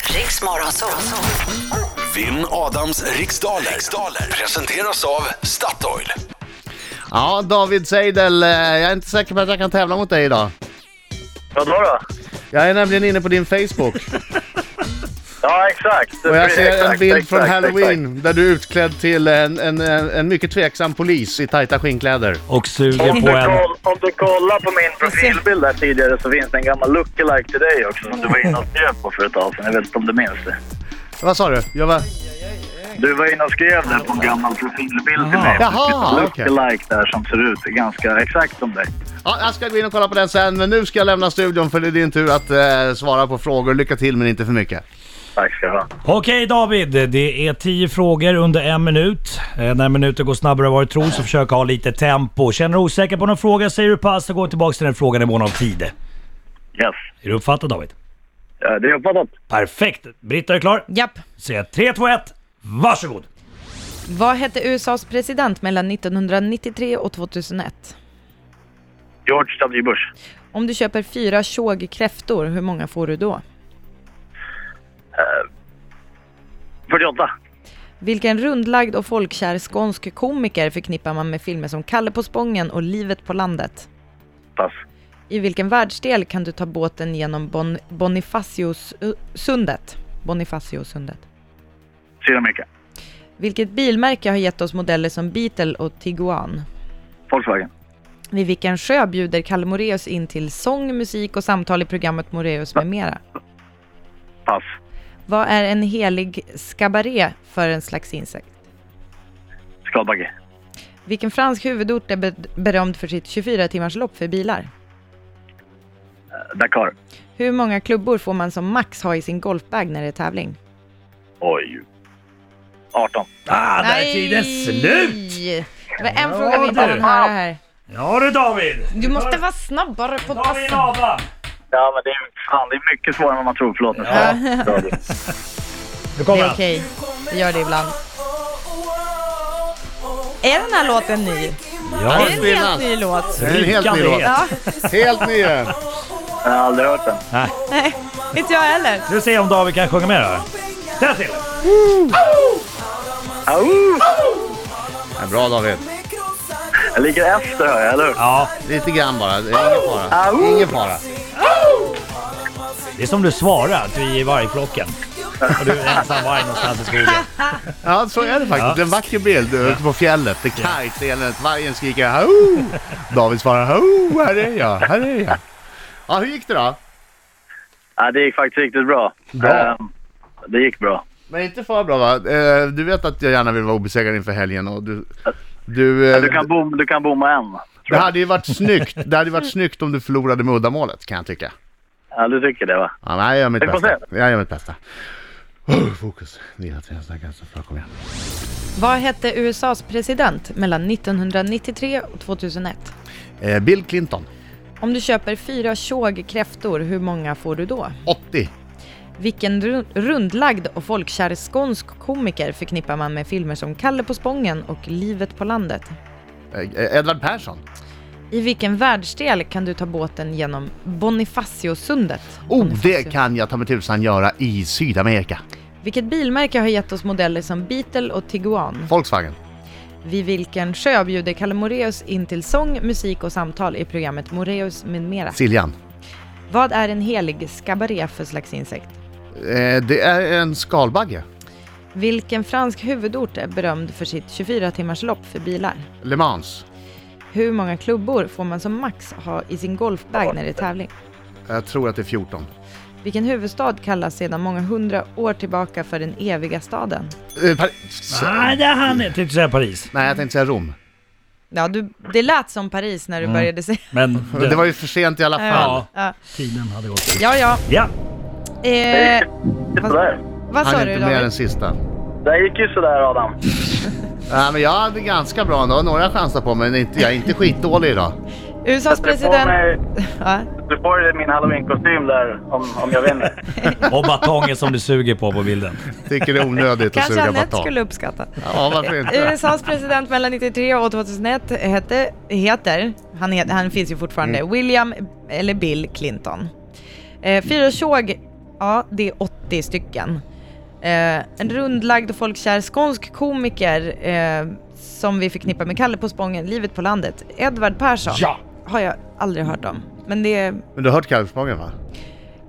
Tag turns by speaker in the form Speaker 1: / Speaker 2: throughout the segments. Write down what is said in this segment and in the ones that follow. Speaker 1: Riks Morgonzoo.
Speaker 2: Vinn Adams riksdaler. riksdaler presenteras av Statoil.
Speaker 3: Ja, David Seidel, eh, jag är inte säker på att jag kan tävla mot dig idag.
Speaker 4: Vadå då?
Speaker 3: Jag är nämligen inne på din Facebook
Speaker 4: Ja, exakt.
Speaker 3: och jag ser en
Speaker 4: Exakt,
Speaker 3: bild
Speaker 4: exakt,
Speaker 3: från
Speaker 4: exakt.
Speaker 3: Halloween där du är utklädd till en, en, en, en mycket tveksam polis i tajta skinnkläder.
Speaker 5: och suger
Speaker 4: Om
Speaker 5: på
Speaker 4: du,
Speaker 5: en...
Speaker 4: koll, om du kollar på min profilbild där tidigare så finns det en gammal lookalike till dig också som du var inne och skrev på för ett tag sedan. Jag vet inte om du minns det.
Speaker 3: Vad sa du? Jag var...
Speaker 4: Du var inne och skrev det på en gammal profilbild till mig.
Speaker 3: Jaha,
Speaker 4: En
Speaker 3: okej.
Speaker 4: lookalike där som ser ut ganska exakt som dig.
Speaker 3: Ja, jag ska gå in och kolla på den sen, men nu ska jag lämna studion för det är din tur att eh, svara på frågor. Lycka till, men inte för mycket.
Speaker 4: Tack ska du ha.
Speaker 5: Okej David, det är 10 frågor under en minut. Eh, när minuten går snabbare än vad du tror så försök ha lite tempo. Känner du osäker på någon fråga säger du pass och går tillbaka till den frågan i mån av tid.
Speaker 4: Yes.
Speaker 5: Är du uppfattad David?
Speaker 4: Ja, det är uppfattat.
Speaker 5: Perfekt! Britta är du klar?
Speaker 6: Japp.
Speaker 5: Säg 3, 2, 1, varsågod!
Speaker 6: Vad hette USAs president mellan 1993 och 2001?
Speaker 4: George W. Bush.
Speaker 6: Om du köper fyra tjogkräftor, hur många får du då?
Speaker 4: 48.
Speaker 6: Vilken rundlagd och folkkär skånsk komiker förknippar man med filmer som Kalle på Spången och Livet på landet?
Speaker 4: Pass.
Speaker 6: I vilken världsdel kan du ta båten genom bon Bonifacius-sundet? Bonifacius-sundet.
Speaker 4: Sydamerika.
Speaker 6: Vilket bilmärke har gett oss modeller som Beetle och Tiguan?
Speaker 4: Volkswagen.
Speaker 6: Vid vilken sjö bjuder Kalle Moreus in till sång, musik och samtal i programmet Moreus med mera?
Speaker 4: Pass.
Speaker 6: Vad är en helig skabaré för en slags insekt?
Speaker 4: Skalbagge.
Speaker 6: Vilken fransk huvudort är be- berömd för sitt 24-timmarslopp för bilar?
Speaker 4: Dakar.
Speaker 6: Hur många klubbor får man som max ha i sin golfbag när det är tävling?
Speaker 4: Oj. 18.
Speaker 5: Ah, där är tiden slut!
Speaker 6: Det var en fråga vi inte
Speaker 5: du.
Speaker 6: hann höra här.
Speaker 5: Ja du David!
Speaker 6: Du måste vara snabbare på
Speaker 5: David
Speaker 6: passen.
Speaker 3: Alltså.
Speaker 5: Ava!
Speaker 4: Ja, men det är, fan, det är mycket svårare än vad man tror. Förlåt.
Speaker 5: Ja.
Speaker 4: Ja.
Speaker 5: Nu
Speaker 6: Det
Speaker 5: kommer
Speaker 6: är
Speaker 5: han.
Speaker 6: okej, vi gör det ibland. Är den här låten ny?
Speaker 5: Ja,
Speaker 6: Är det en helt ny låt?
Speaker 3: Det är en helt ny
Speaker 5: Rikande
Speaker 3: låt.
Speaker 5: het.
Speaker 6: Ja,
Speaker 3: Helt ny!
Speaker 4: Jag har aldrig hört den.
Speaker 6: nej, inte jag heller.
Speaker 5: Nu ser jag om David kan sjunga med här. Där till!
Speaker 4: Au!
Speaker 3: Ja, Bra David.
Speaker 4: Jag ligger efter hör jag, eller hur?
Speaker 5: Ja,
Speaker 3: Lite grann bara. Det är Ingen fara. Ingen fara.
Speaker 5: det är som du svarar, att du är i vargflocken. Och du är ensam varg någonstans i skogen.
Speaker 3: Ja, så är det faktiskt. En vacker bild ute på fjället. Det är kargt, det är eländigt. Vargen skriker hao! David svarar hao! Här är jag, här är jag. Ja, hur gick det då?
Speaker 4: Ja, det gick faktiskt riktigt bra.
Speaker 3: Bra.
Speaker 4: Ehm, det gick bra.
Speaker 3: Men inte för bra va? Eh, Du vet att jag gärna vill vara obesegrad inför helgen och du... Du, eh,
Speaker 4: Du kan, bom, du kan bomma en.
Speaker 3: det hade ju varit snyggt. Det hade ju varit snyggt om du förlorade med uddamålet kan jag tycka.
Speaker 4: Ja, du tycker det va?
Speaker 3: Ja, nej, jag gör mitt
Speaker 4: Vi får
Speaker 3: bästa.
Speaker 4: se.
Speaker 3: Jag gör mitt bästa. Oh, fokus. Vila, träna, snacka, så bra. Kom igen.
Speaker 6: Vad hette USAs president mellan 1993 och 2001?
Speaker 3: Eh, Bill Clinton,
Speaker 6: Om du köper fyra tjog kräftor, hur många får du då?
Speaker 3: 80.
Speaker 6: Vilken ru- rundlagd och folkkär skånsk komiker förknippar man med filmer som Kalle på Spången och Livet på landet?
Speaker 3: Eh, eh, Edvard Persson.
Speaker 6: I vilken världsdel kan du ta båten genom Bonifacio-sundet?
Speaker 3: Oh, det
Speaker 6: Bonifacio.
Speaker 3: kan jag ta mig tusan göra i Sydamerika.
Speaker 6: Vilket bilmärke har gett oss modeller som Beetle och Tiguan?
Speaker 3: Volkswagen.
Speaker 6: Vid vilken sjö bjuder Kalle Moreus in till sång, musik och samtal i programmet Moreus med mera?
Speaker 3: Siljan.
Speaker 6: Vad är en helig skabaré för slags insekt?
Speaker 3: Eh, det är en skalbagge.
Speaker 6: Vilken fransk huvudort är berömd för sitt 24-timmarslopp för bilar?
Speaker 3: Le Mans.
Speaker 6: Hur många klubbor får man som max ha i sin golfbag när det är tävling?
Speaker 3: Jag tror att det är 14.
Speaker 6: Vilken huvudstad kallas sedan många hundra år tillbaka för den eviga staden?
Speaker 3: Eh, Paris.
Speaker 5: Nej, det hann jag inte säga Typ Paris.
Speaker 3: Nej, jag tänkte säga Rom.
Speaker 6: Ja, du, det lät som Paris när du började säga...
Speaker 5: Men
Speaker 3: Men Det var ju för sent i alla fall.
Speaker 5: Ja,
Speaker 6: Ja,
Speaker 5: tiden hade gått.
Speaker 6: ja. ja.
Speaker 5: Ja,
Speaker 6: Eh,
Speaker 4: Det gick sådär.
Speaker 6: vad
Speaker 3: Han
Speaker 6: sa
Speaker 3: är
Speaker 6: du
Speaker 3: inte med den
Speaker 6: David?
Speaker 3: sista.
Speaker 4: Det gick ju sådär Adam.
Speaker 3: Nej, men jag hade ganska bra ändå. Några chanser på mig, men inte, jag är inte skitdålig idag.
Speaker 6: USAs
Speaker 4: Du får,
Speaker 6: president...
Speaker 4: mig,
Speaker 6: Ja.
Speaker 4: du får min halloweenkostym där om, om jag vinner.
Speaker 5: och batongen som du suger på på bilden.
Speaker 3: Tycker det är onödigt att
Speaker 6: Kanske
Speaker 3: suga
Speaker 6: Anette
Speaker 3: batong.
Speaker 6: skulle uppskatta.
Speaker 3: Ja, varför inte?
Speaker 6: USAs president mellan 93 och 2001 hette, heter, han,
Speaker 3: Mm.
Speaker 6: heter, han finns ju fortfarande, William eller Bill Clinton. Eh, fyra tjog Ja, det är 80 stycken. Eh, en rundlagd och folkkär skånsk komiker eh, som vi förknippar med Kalle på Spången, Livet på landet. Edvard Persson
Speaker 5: Ja!
Speaker 6: har jag aldrig hört om. Men det är
Speaker 3: Men du har hört Kalvspången va?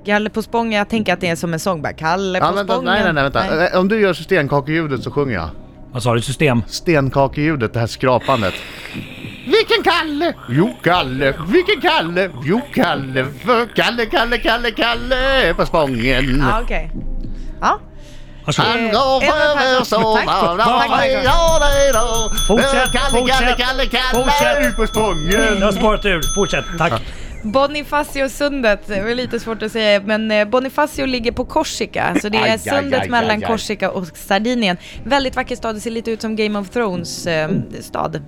Speaker 6: Kalle på Spången, jag tänker att det är som en sång bara. Kalle på
Speaker 3: Ja, vänta,
Speaker 6: Spången.
Speaker 3: nej, nej, nej, vänta. Eh, Om du gör stenkakeljudet så sjunger jag.
Speaker 5: Vad sa du? System?
Speaker 3: Stenkakeljudet, det här skrapandet. Vilken Kalle? Jo, Kalle. Vilken Kalle? Jo, Kalle. För Kalle, Kalle, Kalle, Kalle på Spången.
Speaker 6: Ja, Ah, okej. Ja.
Speaker 5: Varsågod.
Speaker 3: Han går
Speaker 6: Eh, Edvard
Speaker 3: före
Speaker 6: Persson.
Speaker 3: sommaren.
Speaker 6: Tack.
Speaker 3: Ja,
Speaker 6: Tack, tack.
Speaker 3: det då. Kalle,
Speaker 5: Fortsätt,
Speaker 3: Kalle,
Speaker 5: fortsätt.
Speaker 3: Kalle, Kalle
Speaker 5: Fortsätt.
Speaker 3: på Spången.
Speaker 5: Jag har sparat ur. Fortsätt. Tack.
Speaker 6: Bonifacio-sundet, det är lite svårt att säga, men eh, Bonifacio ligger på Korsika, så det är
Speaker 3: Aj, aj,
Speaker 6: sundet
Speaker 3: aj,
Speaker 6: mellan
Speaker 3: aj, aj.
Speaker 6: Korsika och Sardinien. Väldigt vacker stad, det ser lite ut som Game of Thrones eh, stad.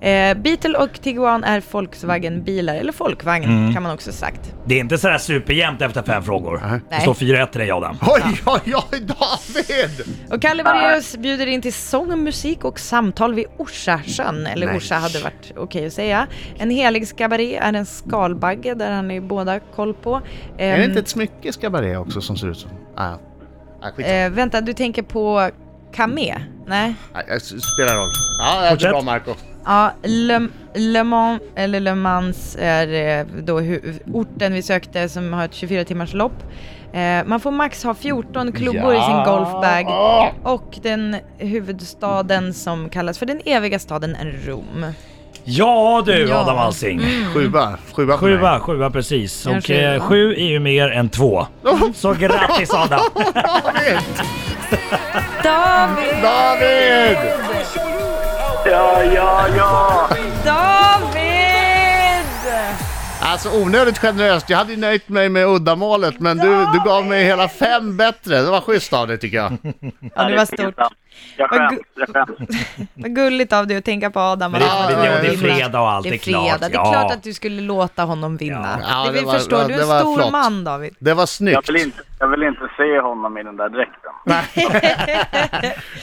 Speaker 6: Eh, Beetle och Tiguan är Volkswagen-bilar, eller folkvagn
Speaker 3: Mm.
Speaker 6: kan man också sagt.
Speaker 5: Det är inte sådär superjämnt efter fem frågor. Det
Speaker 6: Nej.
Speaker 5: står 4-1 till dig Adam.
Speaker 3: Oj, oj, oj, David!
Speaker 6: Och Kalle
Speaker 3: Ah.
Speaker 6: Vareus bjuder in till sång, musik och samtal vid Orsasjön, eller
Speaker 3: Nej.
Speaker 6: Orsa hade varit okej att säga. En helig skabaré är en skalbagge, där han är båda koll på.
Speaker 3: Är det
Speaker 6: Ehm,
Speaker 3: inte ett smycke skabaré också som ser ut som... Ah, ah, skit.
Speaker 6: Eh, vänta, du tänker på Camé? Nej?
Speaker 3: Ah, jag s- spelar roll. Ja, det är
Speaker 5: Fortsätt.
Speaker 3: bra Marco.
Speaker 6: Ja, Le, Le Mans, eller Le Mans är eh, då hu- orten vi sökte som har ett 24 timmars lopp. Eh, man får max ha 14 klubbor i sin
Speaker 3: Ja.
Speaker 6: golfbag och den huvudstaden som kallas för den eviga staden är Rom.
Speaker 5: Ja Mm. du
Speaker 6: Ja.
Speaker 5: Adam Alsing.
Speaker 3: Sjua. Sjua för mig.
Speaker 5: Sjua, sjua precis. Och
Speaker 6: Kanske,
Speaker 5: eh,
Speaker 6: ja.
Speaker 5: sju är ju mer än två.
Speaker 3: Oh.
Speaker 5: Så grattis Adam!
Speaker 3: David!
Speaker 6: David!
Speaker 3: David!
Speaker 4: Ja, ja, ja!
Speaker 6: David!
Speaker 3: Alltså onödigt generöst. Jag hade ju nöjt mig med uddamålet men du, du gav mig hela fem bättre. Det var schysst av dig tycker jag.
Speaker 6: Ja, det var stort.
Speaker 4: Jag
Speaker 6: Vad
Speaker 4: skäms,
Speaker 6: gu-
Speaker 4: jag skäms.
Speaker 6: Vad gulligt av dig att tänka på Adam.
Speaker 5: Men det-
Speaker 6: Alsing.
Speaker 3: det- det är
Speaker 6: Vinna.
Speaker 5: fredag och allt är klart,
Speaker 6: fredag. Det är
Speaker 5: ja.
Speaker 6: klart att du skulle låta honom vinna.
Speaker 3: Ja,
Speaker 6: det,
Speaker 3: det
Speaker 6: vi
Speaker 3: var-
Speaker 6: förstår.
Speaker 3: var-
Speaker 6: du
Speaker 3: det
Speaker 6: är
Speaker 3: var
Speaker 6: en stor
Speaker 3: flott.
Speaker 6: man David.
Speaker 3: Det var
Speaker 4: Jag
Speaker 3: snyggt.
Speaker 4: vill, inte, jag vill inte se honom i den där dräkten.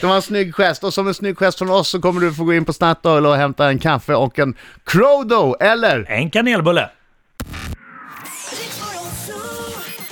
Speaker 3: Det var en snygg gest och som en snygg gest från oss så kommer du få gå in på Statoil och hämta en kaffe och en Crodo eller
Speaker 5: En kanelbulle.
Speaker 1: Riks Morgonzoo.